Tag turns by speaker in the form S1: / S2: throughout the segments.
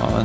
S1: Ja,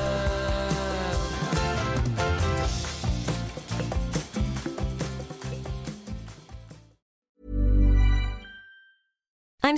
S2: I'm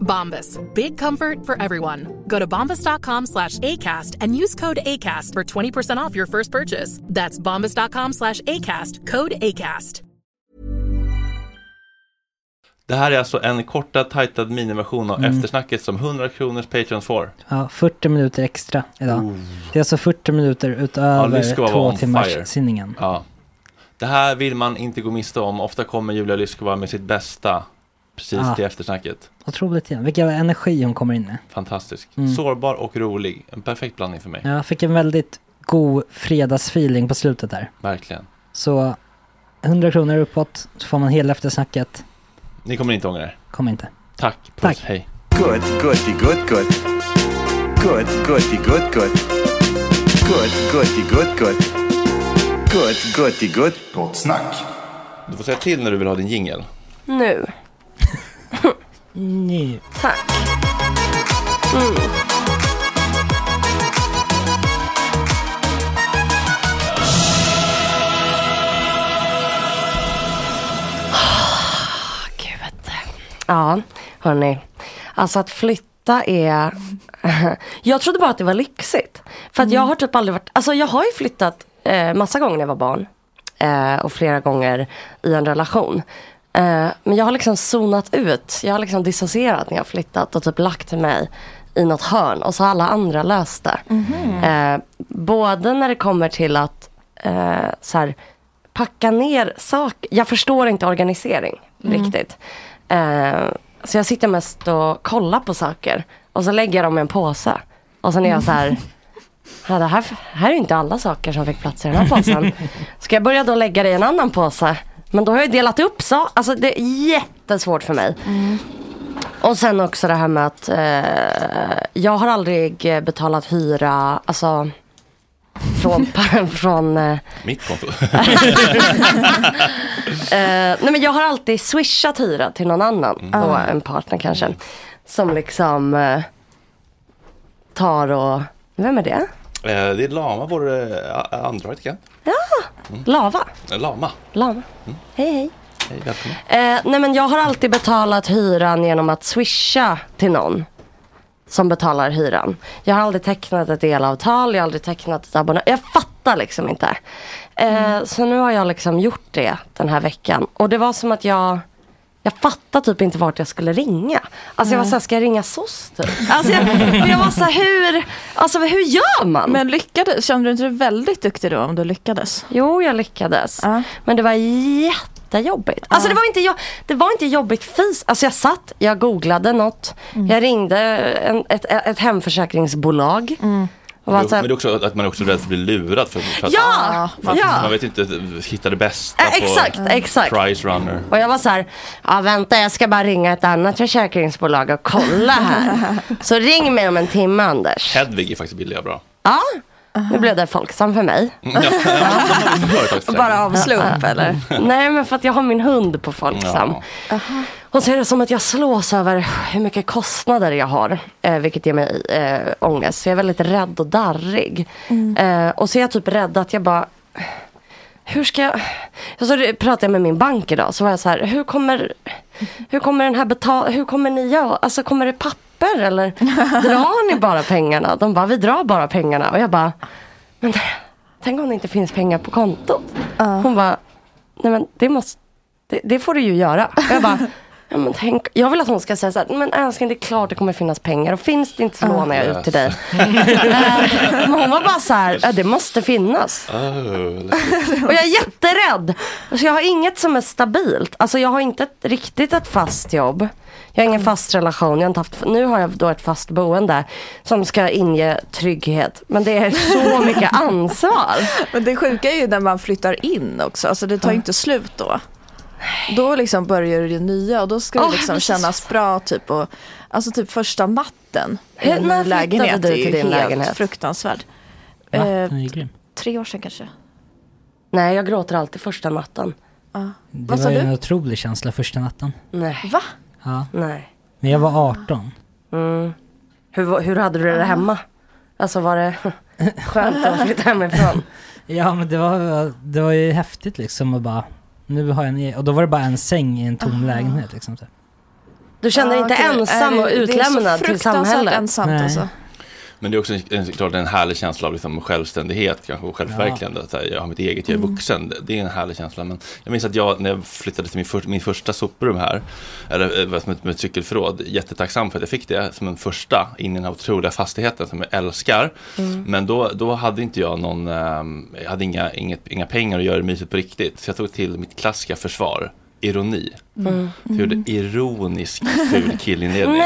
S3: Bombas. Big comfort for everyone. Go to bombas.com slash ACAST and use code ACAST for 20% off your first purchase. That's bombas.com slash ACAST. Code ACAST.
S1: Det här är alltså en kortad, tajtad miniversion av
S4: Mm.
S1: eftersnacket som 100 kronors Patreons får.
S4: Ja, 40 minuter extra idag. Det är alltså 40 minuter
S1: Ja,
S4: utöver
S1: det ska vara
S4: två
S1: on
S4: timmars
S1: fire.
S4: sändningen.
S1: Ja. Det här vill man inte gå miste om. Ofta kommer Julia Lyskova med sitt bästa precis
S4: Ja.
S1: till eftersnacket.
S4: Otroligt igen. Vilken jävla energi hon kommer in med.
S1: Fantastisk.
S4: Mm.
S1: Sårbar och rolig. En perfekt blandning för mig.
S4: Jag fick en väldigt god fredagsfeeling på slutet där.
S1: Verkligen.
S4: Så 100 kronor uppåt så får man hela eftersnacket.
S1: Ni kommer inte ångra er.
S4: Kom inte.
S1: Tack. Puss.
S4: Tack.
S1: Hej.
S5: Good, goody, good, good. Good, goody, good, good. Good, goody, good, good. Good, goody, good. Gott snack.
S1: Du får säga till när du vill ha din jingel.
S6: Nu.
S4: Nu.
S6: Tack. Mm. Ah, Gud. Ja, hörni. Alltså att flytta är... Jag trodde bara att det var lyxigt. För att
S3: Mm.
S6: jag har typ aldrig varit... Alltså jag har ju flyttat eh, massa gånger när jag var barn. Eh, och flera gånger i en relation. Eh, men jag har liksom zonat ut. Jag har liksom dissocierat när jag har flyttat och typ lagt mig i något hörn. Och så har alla andra löst det.
S3: Mhm.
S6: Eh, både när det kommer till att eh, så här, packa ner saker. Jag förstår inte organisering riktigt. Eh, så jag sitter mest och kollar på saker. Och så lägger jag dem i en påse. Och sen är jag så här. Ja, det här, här är ju inte alla saker som fick plats i den här påsen. Ska jag börja då lägga det i en annan påse? Men då har jag ju delat upp så. Alltså det är jättesvårt för mig. Och sen också det här med att eh, jag har aldrig eh, betalat hyra, alltså från, från eh,
S1: Mitt konto.
S6: Eh, nej men jag har alltid swishat hyra till någon annan. Då, en partner kanske. Som liksom eh, tar och, vem är det?
S1: Eh, det är Lama, vår eh, android kan.
S6: Lava.
S1: Eh, Lama.
S6: Lama. Hej hej.
S1: Hej, välkommen.
S6: Eh, nej men jag har alltid betalat hyran genom att swisha till någon. Som betalar hyran. Jag har aldrig tecknat ett elavtal, jag har aldrig tecknat ett abonnemang. Jag fattar liksom inte. Eh, Så nu har jag liksom gjort det den här veckan. Och det var som att jag jag fattade typ inte vart jag skulle ringa. Alltså jag var såhär, ska jag ringa SOS typ? Alltså jag, jag var såhär, hur, alltså hur gör man?
S7: Men lyckades, kände du inte dig väldigt duktig då om du lyckades?
S6: Jo, jag lyckades.
S7: Ja.
S6: Men det var jättejobbigt. Alltså det var inte, jo- det var inte jobbigt fys. Alltså jag satt, jag googlade något. Jag ringde en, ett, ett hemförsäkringsbolag. Och var
S1: Men
S6: så
S1: det
S6: här,
S1: är också att man är också rädd för att bli lurad. För, för att,
S6: ja,
S1: man, man
S6: ja.
S1: vet inte, hitta det bästa
S6: Eh, Exakt,
S1: på
S6: exakt.
S1: Price Runner.
S6: Och jag var så här, ja vänta jag ska bara ringa ett annat försäkringsbolag och kolla här. så ring mig om en timme Anders.
S1: Hedvig är faktiskt billig och bra.
S6: Ja, nu blev det Folksam för mig.
S1: Mm, ja, de har liksom företagsförsäkring.
S7: Bara av slump eller?
S6: Nej men för att jag har min hund på Folksam.
S1: Ja.
S6: Och så är det som att jag slås över hur mycket kostnader jag har. Eh, vilket ger mig eh, ångest. Så jag är väldigt rädd och darrig. Eh, och så är jag typ rädd att jag bara hur ska jag... Och så pratade jag med min bank idag. Så var jag så här, hur kommer, hur kommer den här betal... Hur kommer ni göra? Alltså kommer det papper eller drar ni bara pengarna? De bara, vi drar bara pengarna. Och jag bara, men tänk om det inte finns pengar på kontot? Hon bara, nej men det måste... Det, det får du ju göra. Och jag bara, ja, men tänk, jag vill att hon ska säga så här, men älskling det är klart det kommer finnas pengar och finns det inte så lånar jag ut till dig. Eh, men hon var bara så här, ja, det måste finnas.
S1: Oh,
S6: Och jag är jätterädd. Så jag har inget som är stabilt. Alltså jag har inte ett, riktigt ett fast jobb. Jag har ingen fast relation. Jag har inte haft, nu har jag då ett fast boende som ska inge trygghet. Men det är så mycket ansvar.
S7: Men det sjuka är ju när man flyttar in också, alltså det tar ju inte slut då. Då liksom börjar det nya och då ska det
S6: Åh,
S7: liksom
S6: precis.
S7: kännas bra typ och, alltså typ första natten i
S6: Hur-
S7: en ny
S6: när flyttade
S7: lägenhet
S6: du
S7: är ju
S6: till din
S7: helt
S6: lägenhet?
S7: fruktansvärd.
S4: Va?
S7: Eh,
S4: Den är ju grym.
S7: Tre år sedan kanske.
S6: Nej, jag gråter alltid första natten.
S4: Det
S7: vad sa
S4: var ju
S7: du?
S4: en otrolig känsla första natten.
S6: Nej,
S7: Va?
S4: Ja.
S6: nej. Mm.
S4: När jag var 18.
S6: Hur, hur hade du det hemma? Alltså var det skönt att flytta hemifrån?
S4: Ja men det var, det var ju häftigt liksom att bara, nu har jag en, e- och då var det bara en säng i en tom lägnet liksom. Så.
S6: Du kände dig
S7: Ja,
S6: inte
S7: gud,
S6: ensam
S7: Ah, är det-
S6: och utlämnad till
S7: Det är så fruktansvärt
S6: samhället?
S7: ensamt
S4: Nej.
S7: alltså.
S1: Men det är också en, en, klart en härlig känsla av liksom självständighet kanske, och självförverkligande. Att så här, jag har mitt eget, jag är vuxen. Det- Det är en härlig känsla. Men jag minns att jag, när jag flyttade till min, för, min första soprum här, eller eh, vad som ett, med ett cykelförråd, jättetacksam för att jag fick det som en första in i den här otroliga fastigheten som jag älskar. Men då, då hade inte jag någon, ehm, jag hade inga, inget, inga pengar att göra det mysigt på riktigt. Så jag tog till mitt klassiska försvar, ironi. Jag gjorde ironisk ful killinledning.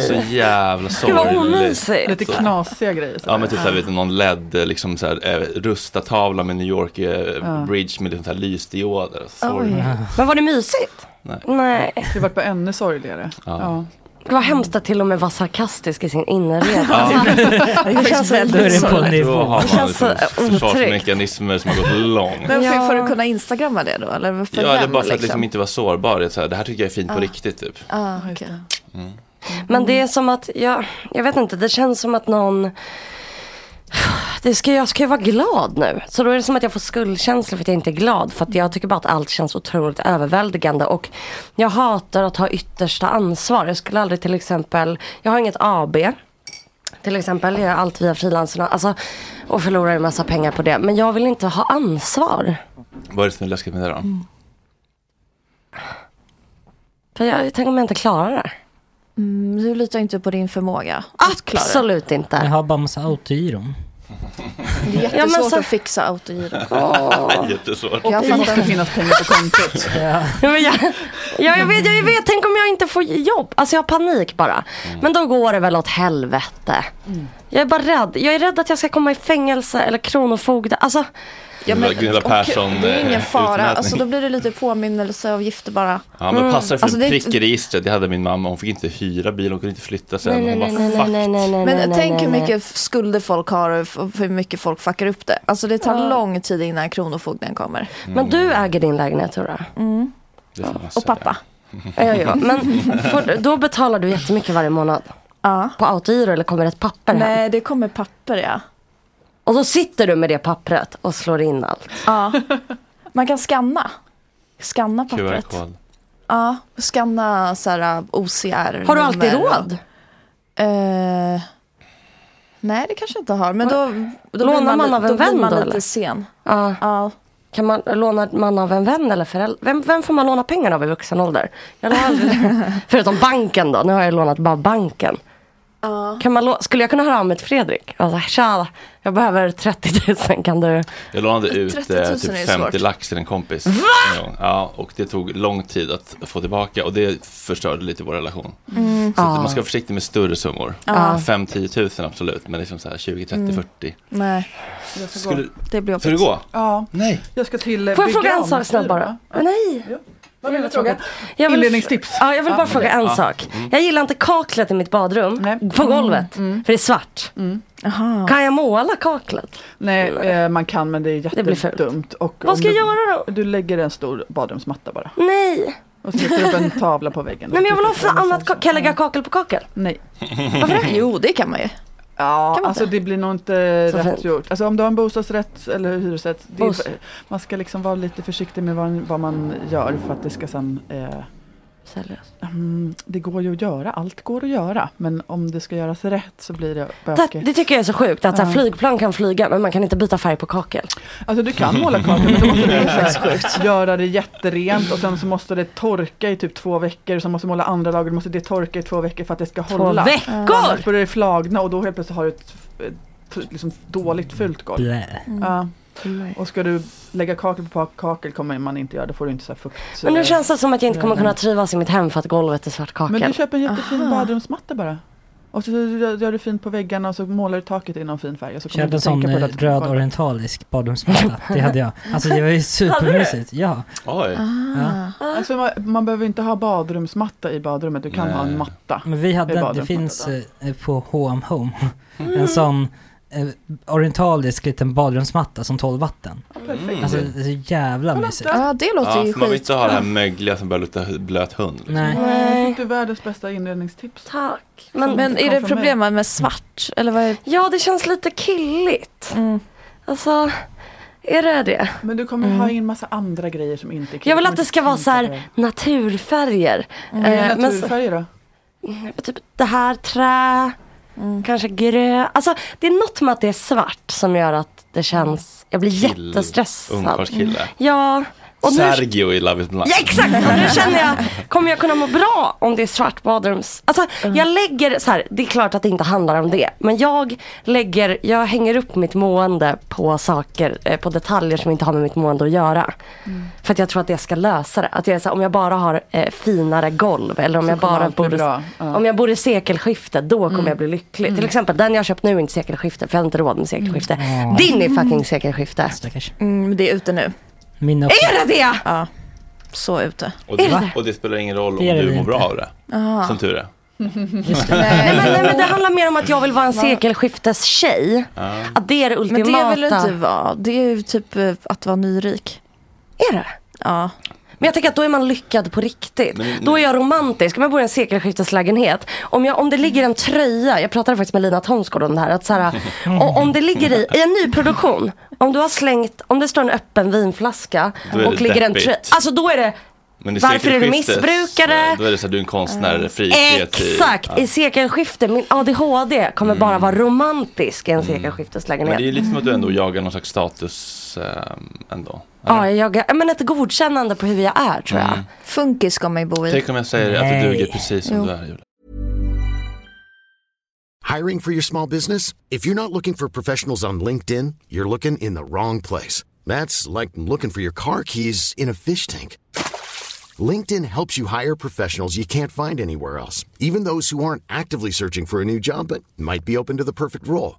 S1: Så jävla
S6: Gud
S1: sorgligt.
S6: vad omysigt.
S8: Lite knasiga grejer.
S1: Ja men typ såhär, vet du, någon LED liksom så här, eh, rustatavla med New York eh, Bridge med liksom så här lysdioder. Så,
S7: Oj.
S6: Men var det mysigt?
S1: Nej.
S6: Nej.
S8: Det vart bara ännu sorgligare.
S1: Ja.
S8: Ja.
S6: Det var hemskt att till och med vara sarkastisk i sin inredning.
S1: Ja.
S6: Det känns Alltså, väldigt så.
S1: Då har
S6: Det
S1: man
S6: känns så
S1: liksom försvarsmekanismer som har gått långt.
S7: Men får,
S6: Ja.
S7: får du kunna instagramma det då? Eller för
S1: Ja,
S7: vem,
S1: eller bara för att
S7: liksom?
S1: liksom inte vara sårbar. Det, är så här, det här tycker jag är fint på
S6: Ja.
S1: riktigt typ.
S7: Ah, okej.
S6: Men det är som att, jag, jag vet inte, det känns som att någon det ska, jag ska ju vara glad nu. Så då är det som att jag får skuldkänslor för att jag inte är glad. För att jag tycker bara att allt känns otroligt överväldigande. Och jag hatar att ha yttersta ansvar. Jag skulle aldrig till exempel, jag har inget AB. Till exempel, jag gör allt via frilansarna. Alltså, och förlorar en massa pengar på det. Men jag vill inte ha ansvar.
S1: Vad är det som är läskigt med det då?
S6: Mm. För jag, tänk om jag inte klarar det.
S7: Mm, du litar inte på din förmåga.
S6: Absolut inte.
S4: Jag har bara massa autogiron.
S7: Det är
S6: Ja, men
S7: jättesvårt
S6: så-
S7: att fixa autogiro.
S1: Jättesvårt.
S7: Jag
S8: Det måste
S7: fattar.
S8: finnas pengar på kontot.
S6: Ja, men jag, ja, jag, vet, jag vet, tänk om jag inte får jobb. Alltså jag har panik bara.
S1: Mm.
S6: Men då går det väl åt helvete. Jag är bara rädd. Jag är rädd att jag ska komma i fängelse eller kronofogde. Alltså,
S7: Ja, men-
S1: Gunilla
S7: och-
S1: Persson,
S7: Det är ingen
S1: eh,
S7: fara.
S1: utmätning.
S7: Alltså, då blir det lite påminnelseavgifter bara.
S1: Ja, men passar för
S7: Alltså, det
S1: en
S7: är-
S1: prick i registret. Det hade min mamma. Hon fick inte hyra bil, hon kunde inte flytta sen.
S6: nej, nej,
S1: hon bara,
S6: nej, nej,
S1: fuck.
S6: nej, nej, nej, nej,
S7: Men
S6: nej,
S7: tänk
S6: nej,
S7: hur
S6: nej.
S7: mycket skulder folk har och f- hur mycket folk fuckar upp det. Alltså det tar lång tid innan kronofogden kommer.
S6: Men du
S1: Mm.
S6: äger din lägenhet, Tora.
S1: Det får man
S7: Och
S1: säga.
S7: pappa.
S6: Ja, ja, ja. Men får, då betalar du jättemycket varje månad.
S7: Ja.
S6: På autogiro eller kommer ett papper hem.
S7: Nej, det kommer papper ja.
S6: Och då sitter du med det pappret och slår in allt.
S7: ja. Man kan skanna. Skanna pappret.
S1: QR-kod.
S7: Ja, skanna så här äh, OCR.
S6: Har du alltid råd?
S7: Eh, nej, det kanske jag inte har. Men då, då
S6: Lånar
S7: blir
S6: man
S7: li-
S6: av en
S7: då blir
S6: vän
S7: man
S6: då,
S7: lite
S6: eller?
S7: sen.
S6: Ja.
S7: Ja.
S6: Kan man, låna man av en vän eller förälder? Vem, vem får man låna pengar av i vuxen ålder? Jag lånar aldrig Förutom banken då. Nu har jag lånat bara banken. Kan man lå- Skulle jag kunna höra av mig till Fredrik? Alltså, tja, jag behöver 30 000. Kan du?
S1: Jag lånade ut
S7: 30 000
S1: eh,
S7: är ju
S1: typ
S7: svårt.
S1: 50 lax till en kompis. En gång. Ja, och det tog lång tid att få tillbaka och det förstörde lite vår relation. Så att man ska vara försiktig med större summor. 5-10 000 absolut, men liksom så här 20, 30, 40.
S7: Nej,
S8: Jag ska gå.
S1: Skulle,
S7: det blir
S1: skulle det gå?
S8: Ja,
S1: Nej.
S8: jag ska till eh,
S6: Får jag
S8: Bygg
S6: fråga en
S8: Am.
S6: sak snabbt bara?
S8: Va?
S6: Nej.
S8: Vad vill du fråga?
S6: Jag vill,
S8: Inledningstips.
S6: Ja, jag vill bara fråga en sak. Jag gillar inte kaklet i mitt badrum.
S8: Mm. Nej. Mm.
S6: På golvet. För det är svart. Kan jag måla kaklet?
S8: Nej, eh, man kan men det är
S6: blir fult.
S8: jättedumt. Och om
S6: Vad ska
S8: du-
S6: jag göra då?
S8: Du lägger en stor badrumsmatta bara.
S6: Nej.
S8: Och sätter upp en tavla på väggen.
S6: Nej men jag vill ha för
S8: Eller
S6: annat.
S8: så-
S6: ka- Kan jag lägga kakel på kakel?
S8: Nej.
S7: Varför det? Jo, det kan man ju.
S8: Ja,
S7: Kan man
S8: alltså
S7: inte?
S8: det blir nog inte
S6: Så
S8: rätt
S6: fint.
S8: gjort. Alltså om du har en bostadsrätt eller hyresrätt. Det är,
S6: Bostad.
S8: man ska liksom vara lite försiktig med vad, vad man gör för att det ska sen... Eh,
S6: Seriöst.
S8: mm, det går ju att göra, allt går att göra. Men om det ska göras rätt så blir det
S6: Det,
S8: bökigt.
S6: det tycker jag är så sjukt att så här,
S8: Ja.
S6: flygplan kan flyga men man kan inte byta färg på kakel.
S8: Alltså du kan måla kakor men då måste du så här, göra det jätterent och sen så måste det torka i typ två veckor. Sen måste du måla andra lager, du måste det torka i två veckor för att det ska
S6: Två
S8: hålla.
S6: veckor!
S8: Annars börjar det flagna och då helt plötsligt har du ett, ett liksom dåligt fult golv.
S4: Blä.
S6: Mm.
S8: Ja. Och ska du lägga kakel på kakel kommer man inte göra, då får du inte så här fukt.
S6: Men nu känns det som att jag inte kommer kunna trivas i mitt hem för att golvet är svart
S8: Men du
S6: kakel.
S8: köper en jättefin badrumsmatta bara. Och så gör gör du fint på väggarna och så målar du taket i någon fin färg. Och så kommer
S4: Köpte
S8: du
S4: en sån
S8: tänka på det
S4: eh,
S8: att du ska
S4: röd
S8: kolla.
S4: orientalisk badrumsmatta. Det hade jag. Alltså det var ju supermysigt. Ja.
S7: Ah.
S1: Oj.
S4: ja.
S6: Ah.
S8: Alltså man, man behöver inte ha badrumsmatta i badrummet, du kan
S1: Nej.
S8: ha en matta.
S4: Men vi
S8: Det är
S4: hade, det
S8: badrumsmatta
S4: finns eh, på H&M Home, en sån eh, orientalisk liten badrumsmatta som tål vatten.
S8: Perfekt.
S4: Alltså det är så jävla mysigt.
S7: Ja, det låter
S1: Ja,
S7: ju
S1: för man vill
S7: skit.
S1: inte ha det här mögliga som börjar lukta blöt hund. Liksom.
S4: Nej.
S8: Jag
S6: Nej.
S8: fick du världens bästa inredningstips.
S6: Tack. Men,
S7: Men är
S8: kom
S7: det
S8: från mig.
S7: problem med svart? Eller vad är
S6: ja det känns lite killigt.
S7: Mm.
S6: Alltså, är det det? Mm.
S8: Men du kommer ha in massa andra grejer som inte är kul.
S6: Jag vill
S8: Du
S6: att det ska vara så
S8: kommer
S6: här naturfärger.
S8: tänka
S6: Eh,
S8: på det.
S6: men så-
S8: Naturfärger då?
S6: typ det här trä,
S8: Mm.
S6: kanske grö. Alltså det är något med att det är svart som gör att det känns,
S8: Mm.
S6: jag blir
S1: Kill-
S6: jättestressad. Mm.
S1: Ungkarlskille.
S6: Ja, och nu,
S1: Sergio i Love is blind.
S6: ja exakt, och nu känner jag, kommer jag kunna må bra om det är svart badrums? Alltså
S8: Mm.
S6: jag lägger så här, det är klart att det inte handlar om det, men jag lägger, jag hänger upp mitt mående på saker, eh, på detaljer som inte har med mitt mående att göra.
S8: Mm.
S6: För att jag tror att det ska lösa det. Att jag är så här, om jag bara har eh, finare golv eller om
S8: Så
S6: jag
S8: kommer
S6: bara
S8: allt bli
S6: borde
S8: bra. Ja. Mm.
S6: om jag bor i sekelskiftet, då kommer jag bli lycklig. Till exempel den jag köpt nu är inte sekelskifte, för jag har inte råd med sekelskifte. Din är fucking sekelskifte.
S4: Stackars.
S7: det? Mm, det är ute nu.
S4: Min också.
S6: Är det det?
S7: Så ute.
S1: Och
S6: Är
S1: det,
S6: det?
S1: och det spelar ingen roll om
S4: Det är det
S1: du mår
S4: inte.
S1: bra av det. Som tur är.
S6: Nej. Nej, men, nej men det handlar mer om att jag vill vara en sekelskiftestjej. Att det är det
S7: Men
S6: ultimata.
S7: det vill du inte vara. Det är ju typ eh, att vara nyrik.
S6: Är det?
S7: Ja.
S6: Men jag tänker att då är man lyckad på riktigt.
S7: Men-
S6: Då är jag romantisk. Om jag bor i en sekelskifteslägenhet. Om, jag, om det ligger en tröja, jag pratade faktiskt med Lina Thomsgård om det här. Att så här och om det ligger i, i en nyproduktion. Om du har slängt, om det står en öppen vinflaska
S1: Då är det
S6: och ligger en tröja.
S1: deppigt.
S6: Alltså då är det,
S1: Men i
S6: varför är du
S1: sekelskiftet,
S6: missbrukare?
S1: eh, Då är det så att du är en konstnär, fri kreativ.
S6: Exakt,
S1: Ja. Mm.
S6: i sekelskifte. Min ADHD kommer bara vara romantisk i en sekelskifteslägenhet.
S1: Men det är ju lite som att du ändå jagar någon slags status ehm, ändå.
S6: Ja, jag, jag, men ett godkännande på hur jag är tror jag.
S1: Mm.
S7: Funkis ska man ju bo
S1: Tänk om jag säger att
S9: Nej.
S1: du duger precis som
S9: Jo.
S1: du är. Julia.
S9: Hiring for your small business? If you're not looking for professionals on LinkedIn, you're looking in the wrong place. That's like looking for your car keys in a fish tank. LinkedIn helps you hire professionals you can't find anywhere else, even those who aren't actively searching for a new job but might be open to the perfect role.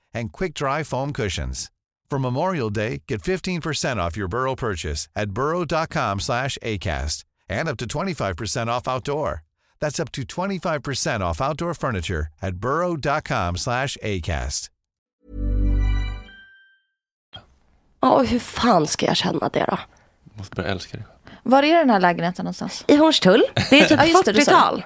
S10: and quick-dry foam cushions. For Memorial Day, get 15% off your Burrow purchase at burrow.com/acast and up to 25% off outdoor. That's up to 25% off outdoor furniture at burrow.com/acast.
S6: Ja, och hur fan ska jag känna det då?
S1: Måste börja älska dig.
S7: Var är den här lägenheten någonstans?
S6: I Hornstull. Det är typ
S7: Ja, just det, du sa.
S6: 40-tal,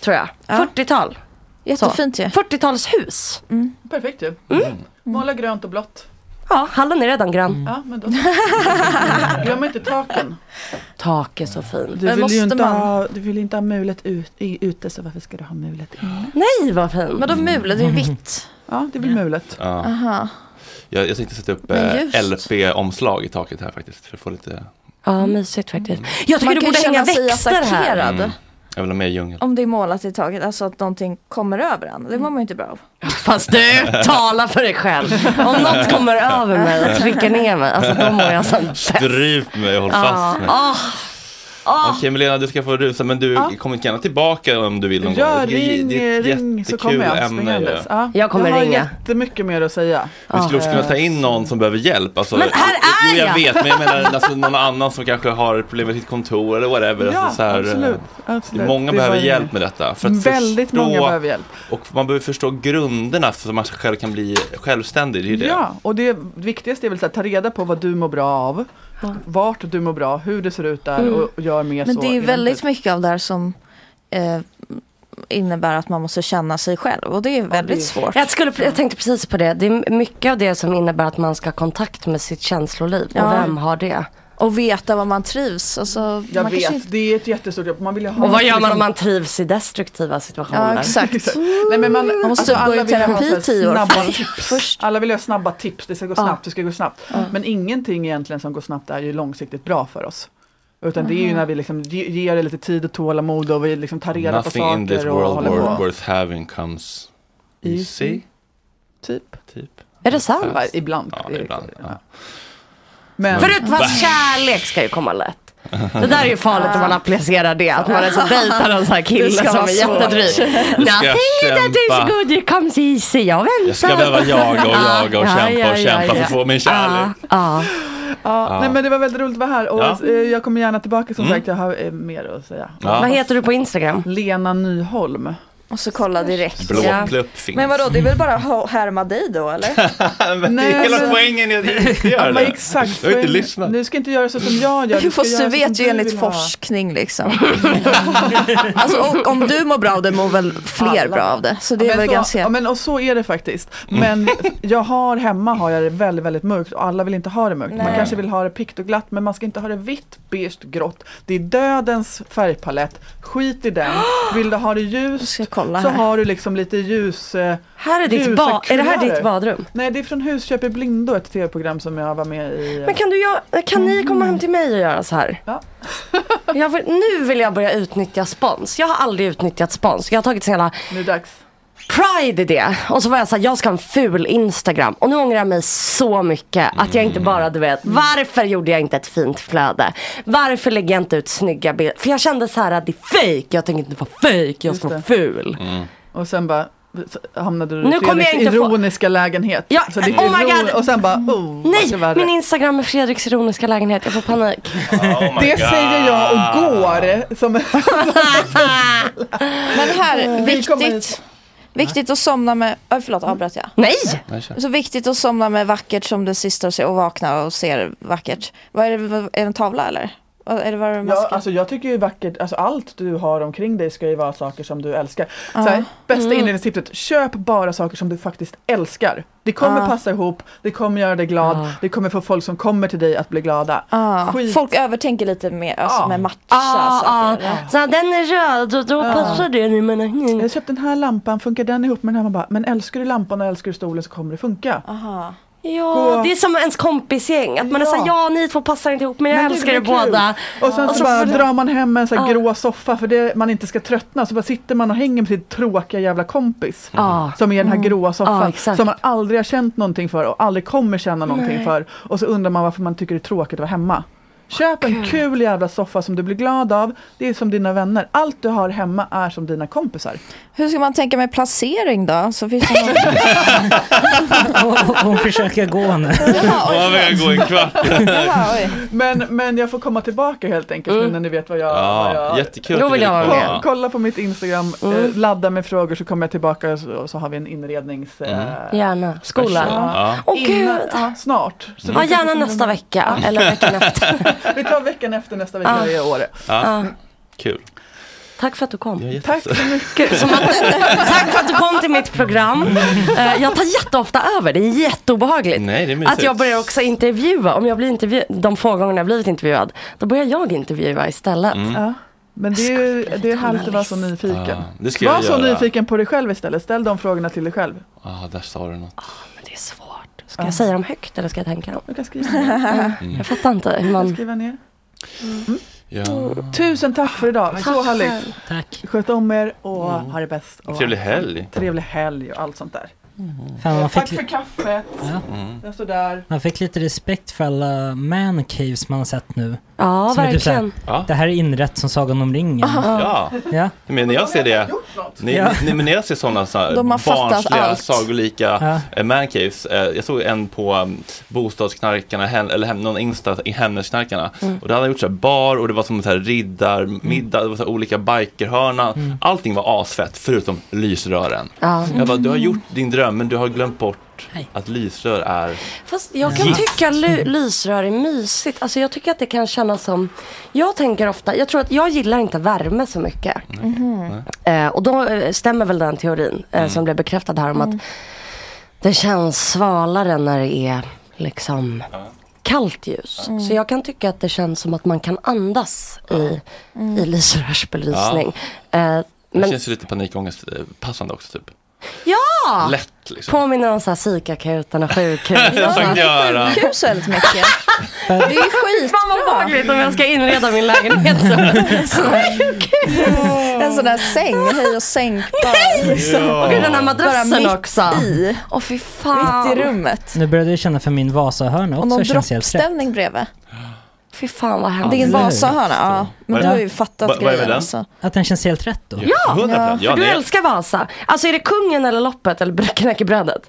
S6: tror jag. 40-tal.
S7: Jättefint
S6: ju. 40-talshus.
S7: Mm.
S8: Perfekt ju. Mm. Måla grönt och blått.
S6: Mm. Ja, hallen är redan grön.
S8: Ja, men då. Glöm inte taken.
S6: Tak är så fint.
S8: Du vill ju inte ha, du vill inte ha mulet ut, i, ute, så varför ska du ha mulet inne?
S6: Nej, vad fint.
S7: Men då mulet, det är vitt.
S8: Ja, det är väl mulet.
S1: Ja.
S7: Aha.
S1: Jag, jag tänkte sätta upp
S6: Men just.
S1: LP-omslag i taket här faktiskt. För att få lite...
S6: Ja, mysigt faktiskt. Jag tycker
S7: Mm. Man
S6: du
S7: kan
S6: borde
S7: ju
S6: hänga
S7: känna sig
S6: växter här.
S1: Mm.
S7: attackerad.
S1: Jag vill ha mer djungel.
S7: Om det är målat i taget, alltså att någonting kommer över en. Det mår man ju inte bra av.
S6: Fast du, tala för dig själv. Om något kommer över mig och trycker ner mig, alltså då mår jag som bäst.
S1: Stryp mig och håll
S6: Ja.
S1: fast mig.
S6: Ah. Ah.
S1: Okej Milena, du ska få rusa, men du
S8: Ja.
S1: kommer gärna tillbaka om du vill någon
S8: Ja,
S1: gång. Det är-
S8: ring,
S1: det är ett
S8: ring så
S1: jättekul
S8: kommer jag
S1: ämne ju.
S8: springandes. Ja, jag har jättemycket mer att säga.
S1: Vi skulle också kunna ta in någon som behöver hjälp. Alltså,
S8: Men här är
S1: jo, jag.
S8: jag!
S1: vet, men jag menar alltså, någon annan som kanske har problem med sitt kontor eller whatever.
S8: Ja,
S1: alltså, så här,
S8: absolut,
S1: eh,
S8: absolut.
S1: Många
S8: Det
S1: behöver
S8: var ju-
S1: hjälp med detta. För att
S8: Väldigt
S1: förstå,
S8: många behöver hjälp.
S1: Och man behöver förstå grunderna så att man själv kan bli självständig. Det är ju det.
S8: Ja, och det viktigaste är väl att ta reda på vad du mår bra av, vart du mår bra, hur det ser ut där
S7: Mm.
S8: och, och gör mer
S7: Men
S8: så.
S7: det är ju
S8: i den
S7: väldigt
S8: tiden.
S7: mycket av det här som eh, innebär att man måste känna sig själv och det är väldigt svårt.
S6: Jag, skulle, jag tänkte precis på det. Det är mycket av det som innebär att man ska ha kontakt med sitt känsloliv.
S7: Ja.
S6: Och vem har det?
S7: Och veta vad man trivs. Alltså,
S8: Jag
S7: man
S8: vet,
S7: kanske inte...
S8: det är ett jättestort jobb. Man vill ju ha
S6: Och vad gör man
S8: liksom-
S6: om man trivs i destruktiva situationer?
S8: Ja, exakt. Nej, men man,
S7: Man måste gå i
S8: alla vill ha
S7: terapi
S8: så här
S7: tio år
S8: snabba
S7: först.
S8: tips. Alla vill ha snabba tips. Det ska gå snabbt, det ska gå snabbt. Men ingenting egentligen som går snabbt är ju långsiktigt bra för oss. Utan det är ju
S7: Mm.
S1: Mhm.
S8: när vi liksom ge- ger det lite tid och tålamod och vi liksom tar reda på
S1: Nothing in this
S8: saker och
S1: world
S8: håller
S1: worth,
S8: på.
S1: worth having comes easy.
S8: Typ.
S1: typ.
S6: Är det sant?
S8: Ja, Ibland.
S1: Ja, ibland. Ja.
S8: Men...
S6: Förut fast kärlek ska ju komma lätt. Det där är ju farligt om man applicerar det. Att man är så dejtar en sån här
S7: Det
S6: kille
S7: ska
S6: som
S7: vara
S6: är
S7: svårt.
S6: jättedryg.
S7: Du ska
S6: Nothing that is
S1: kämpa.
S6: good it comes easy. Jag väntar.
S1: Jag ska behöva jaga och jaga och
S6: Ja,
S1: kämpa
S6: ja, ja,
S1: och kämpa för
S6: ja. Ah,
S1: att få min kärlek.
S6: Ja.
S8: Ja,
S1: Ja.
S8: Nej men det var väldigt roligt att vara här och
S1: Ja.
S8: eh, jag kommer gärna tillbaka som
S1: Mm.
S8: sagt. Jag har eh, mer att säga.
S1: Ja. Vad
S6: heter du på Instagram?
S8: Lena Nyholm.
S7: Och så kolla direkt.
S1: Blåplupp finns.
S7: Men vadå, det är väl bara att ha- härma dig då eller?
S1: men det är
S7: Nej,
S1: hela
S7: men-
S1: poängen är att inte göra
S7: Ja,
S1: det.
S7: men exakt.
S1: Jag har inte lyssnat.
S8: Du ska inte göra så som jag gör.
S7: Fast
S8: ska
S7: du
S8: göra så
S7: vet ju
S8: som du
S7: enligt
S8: vill ha.
S7: forskning liksom. alltså och, om du mår bra av det mår väl fler bra av det. Så det
S8: Ja,
S7: är
S6: Alltså,
S8: men
S7: väl ganska...
S8: ja, men, och så är det faktiskt. Men jag har hemma har jag det väldigt, väldigt mörkt och alla vill inte ha det mörkt. Man
S7: Nej.
S8: kanske vill ha det pikt och glatt men man ska inte ha det vitt, beige, grått. Det är dödens färgpalett. Skit i den. Vill du ha det ljust så
S6: här.
S8: har du liksom lite ljus... eh,
S6: Här är ditt
S8: ljusa
S6: ba- är det här
S8: kulörer.
S6: ditt badrum?
S8: Nej, det är från Husköp i blindo, ett tv-program som jag var med i. eh,
S6: Men kan, du, göra- kan ni komma hem till mig och göra så här?
S8: Ja.
S6: jag vill, nu vill jag börja utnyttja spons. Jag har aldrig utnyttjat spons. Jag har tagit sin hela
S8: Nu är det dags.
S6: pride i det. Och så var jag så här, jag ska ha en ful Instagram. Och nu ångrar jag mig så mycket att jag inte bara, du vet, varför gjorde jag inte ett fint flöde? Varför lägger jag inte ut snygga bilder? För jag kände så här att det är fake. Jag tänker inte vara fake, jag ska vara ful.
S8: Mm. Och sen bara så hamnade du
S6: Nu
S8: i
S6: kommer jag
S8: Fredriks
S6: inte få-
S8: ironiska lägenhet.
S6: Ja,
S8: så ditt
S6: oh my
S8: iron-
S6: God.
S8: Och sen bara, oh, vart det
S6: Nej,
S8: värre.
S6: min Instagram är Fredriks ironiska lägenhet. Jag får panik.
S1: Oh
S8: det säger jag och går. Som...
S7: Men här, viktigt, viktigt att somna med... Äh, förlåt, avbröt jag?
S6: Nej!
S7: Så viktigt att somna med vackert som det sista och, se, och vakna och ser vackert. Vad är det, vad, är det en tavla eller? Vad- Är det vad är det
S8: Ja,
S7: masker?
S8: alltså jag tycker ju vackert, alltså allt du har omkring dig ska ju vara saker som du älskar.
S7: Ja.
S8: Så här, bästa
S7: Mm.
S8: inredningstipset, köp bara saker som du faktiskt älskar. Det kommer
S7: Ja.
S8: passa ihop, det kommer göra dig glad, det kommer få folk som kommer till dig att bli glada.
S7: Ah,
S8: Skit.
S7: folk övertänker lite mer alltså, med matcha
S6: Ah, ah.
S7: saker. Ja.
S6: Så här, den är röd och då passar det nu men
S8: Jag köpte den här lampan, funkar den ihop med den här? Man bara, men älskar du lampan och älskar du stolen så kommer det funka.
S7: Aha.
S6: Ja,
S8: Gå.
S6: det är som ens kompisgäng. Att man är
S8: Ja.
S6: såhär, ja ni två passar inte ihop men jag
S8: Men det
S6: älskar er
S8: blir kul.
S6: båda.
S8: Och sen så, bara
S6: får du-
S8: drar man hem en sån här
S6: Ja.
S8: grå soffa för det, man inte ska tröttna. Så bara sitter man och hänger med sin tråkiga jävla kompis.
S6: Ja.
S8: Som är den här
S6: Mm.
S8: gråa
S6: Ja,
S8: soffan.
S6: exakt.
S8: som man aldrig har känt någonting för och aldrig kommer känna någonting
S6: Nej.
S8: för. Och så undrar man varför man tycker det är tråkigt att vara hemma. Köp en kul jävla soffa som du blir glad av. Det är som dina vänner. Allt du har hemma är som dina kompisar.
S7: Hur ska man tänka med placering då? Så finns det någon...
S4: Hon, hon försöker gå nu.
S1: Ja, vi kan gå en kvart.
S8: Men, men jag får komma tillbaka helt enkelt
S6: Mm.
S8: nu när ni vet vad jag...
S1: Ja,
S8: vad jag
S1: jättekul Då att vill du jag vill vara komma. med.
S8: Ko- Kolla på mitt Instagram, eh,
S6: Mm.
S8: ladda med frågor så kommer jag tillbaka och så, och så har vi en inrednings...
S1: Mm.
S8: Eh,
S6: Gärna, skola.
S8: Ja.
S6: Åh
S8: Innan-
S6: gud.
S8: ja, snart. Så
S6: Ja,
S8: vi kan
S6: gärna
S8: få-
S6: nästa vecka eller veckan efter.
S8: Vi tar veckan efter nästa vecka
S6: Ja.
S8: varje år.
S1: Ja, kul.
S6: Tack för att du kom.
S8: Tack så mycket.
S6: Gud, som att, tack för att du kom till mitt program. Eh, Jag tar jätteofta över, det är jätteobehagligt.
S1: Nej, det är mysigt.
S6: Att jag börjar också intervjua, om jag blir intervjuad, de få gångerna jag blivit intervjuad, då börjar jag intervjua istället.
S8: Ja. Men det är, ju, det är härligt att vara så nyfiken.
S1: Mm. Ja, det ska
S8: var
S1: jag
S8: så
S1: göra.
S8: nyfiken på dig själv istället. Ställ de frågorna till dig själv.
S1: Ja, där sa du något.
S6: Men det är svårt. Ska jag säga dem högt eller ska jag tänka dem?
S8: Du kan skriva ner.
S6: Jag fattar inte hur
S8: Du kan
S6: man...
S8: skriva ner.
S1: Mm.
S8: Mm.
S1: Ja.
S8: Tusen tack för idag. Så
S6: Tack
S8: härligt.
S6: själv.
S4: Tack.
S8: Sköt om er och ha det bäst. Och
S1: Mm. Trevlig
S8: allt
S1: helg.
S8: sånt. Trevlig helg och allt sånt där.
S4: Fan, man,
S8: Tack
S4: fick,
S8: för kaffet.
S1: Mm.
S8: Jag står där.
S4: man fick lite respekt för alla man caves man har sett nu.
S6: Ja,
S4: Som är typ
S6: verkligen.
S4: såhär, Det här är inrätt som Sagan om ringen.
S1: Ja.
S4: Ja.
S1: Men när jag ser det, ni,
S4: Ja.
S1: ni, men när jag ser sådana så här
S7: De har fattat
S1: barnsliga,
S7: allt.
S1: sagolika ja. mancaves. eh, Jag såg en på um, bostadsknarkarna, hen- eller hem, någon Insta i Hemnetknarkarna. Och det hade gjort så här bar och det var som så här riddarmiddag, det var så här olika bikerhörnan. Allting var asfett, förutom lysrören.
S6: Ja.
S1: Jag bara, du har gjort din dröm, men du har glömt bort att lysrör är...
S6: Fast jag kan
S1: Gift.
S6: tycka ly- lysrör är mysigt. Alltså jag tycker att det kan kännas som, jag tänker ofta, jag tror att jag gillar inte värme så mycket. Eh, och då eh, stämmer väl den teorin
S1: Mm.
S6: eh, som blev bekräftad här om att det känns svalare när det är liksom kallt ljus. Så jag kan tycka att det känns som att man kan andas i, i lysrörsbelysning. Eh,
S1: Det
S6: men
S1: känns ju lite panikångest eh, passande också, typ.
S6: ja!
S1: Lätt, liksom.
S6: Påminner om så här psykakuten och sjukhus.
S1: Jag tänkte göra.
S7: Sjukhus väldigt mycket. Det är ju skitbra.
S6: obehagligt om jag ska inreda min lägenhet så.
S7: En sån där säng, höj och sänk bara. liksom.
S6: Och den här
S7: Bara
S6: madrassen
S7: mitt
S6: också.
S7: i.
S6: Åh fy fan.
S7: Mitt i rummet.
S4: Nu började jag känna för min Vasahörna
S7: Och
S4: också.
S7: någon
S4: känns helt rätt.
S7: droppställning bredvid.
S6: Fy fan vad hemskt.
S7: Din
S4: eller hur?
S7: Vasahörna, ja. Men
S1: Vad-
S7: du har ju fattat
S1: vad- vad är med
S7: grejen.
S1: den?
S7: Alltså.
S4: Att den känns helt rätt då.
S1: Ja, 100%. ja
S6: För du
S1: det är,
S6: älskar Vasa. Alltså är det kungen eller loppet eller knäckebrödet?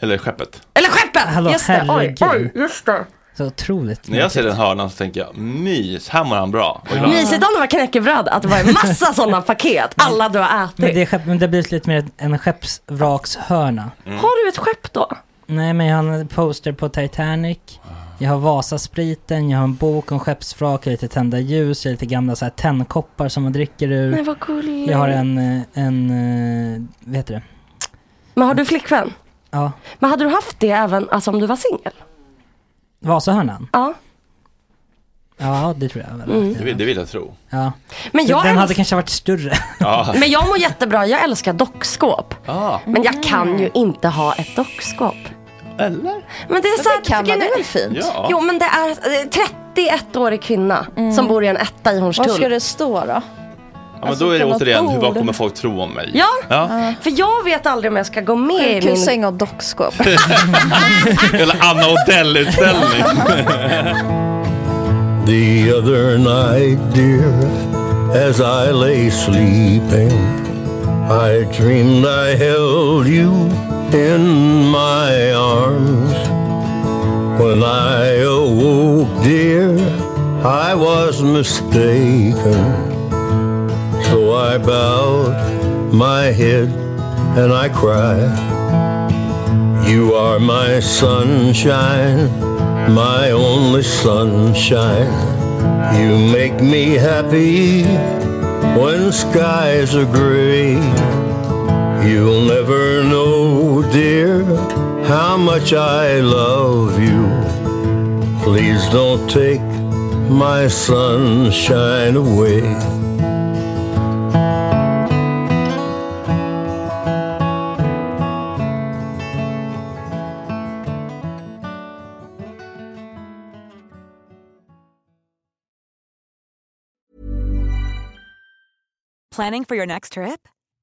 S1: eller skeppet.
S6: Eller skeppet!
S4: Hallå,
S6: just det, oj,
S4: herregud.
S6: oj, just det.
S4: Så otroligt.
S1: När jag ser
S4: märkligt.
S1: den hörnan så tänker jag, mys, här mår han bra. Och ibland-
S6: Mysigt om det var knäckebröd, att det var en massa sådana paket, alla du har ätit.
S4: Men det, är skepp, men det blir lite mer en skeppsvrakshörna.
S6: Mm. Har du ett skepp då?
S4: Nej, men jag har en poster på Titanic. Jag har Vasaspriten, jag har en bok om skeppsvrak, jag har lite tända ljus, jag har lite gamla så här tennkoppar som man dricker ur.
S6: Nej, vad gulligt.
S4: Jag har en, eh, en, eh, vad heter det?
S6: Men har du flickvän?
S4: Ja.
S6: Men hade du haft det även alltså, om du var singel?
S4: Vasahörnan?
S6: Ja.
S4: Ja, det tror jag väl.
S6: Mm.
S1: Det, vill, det vill jag tro.
S4: Ja.
S6: Men jag,
S4: den
S6: älsk-
S4: hade kanske varit större.
S1: Ja.
S6: men jag mår jättebra, jag älskar dockskåp.
S1: Ah.
S6: Men jag kan
S4: Mm.
S6: ju inte ha ett dockskåp.
S1: Eller?
S6: Men det är så här,
S7: kan man, det är väl fint?
S6: Ja. Jo men det är eh, 31-årig kvinna
S4: Mm.
S6: som bor i en etta i Hornstull.
S7: Vad ska det stå då?
S1: Ja, men då är det
S6: på något
S1: återigen, hur, vad
S6: alltså bord.
S1: kommer folk tro om mig?
S6: Ja.
S1: ja.
S6: För jag vet aldrig om jag ska gå med i min...
S7: Sjukhussäng och dockskåp.
S1: Eller Anna Odell-utställning.
S11: The other night, dear, as I lay sleeping, I dreamed I held you in my arms. When I awoke, dear, I was mistaken. So I bowed my head and I cried. You are my sunshine, my only sunshine. You make me happy when skies are gray. You'll never know, dear, how much I love you. Please don't take my sunshine away.
S12: Planning for your next trip?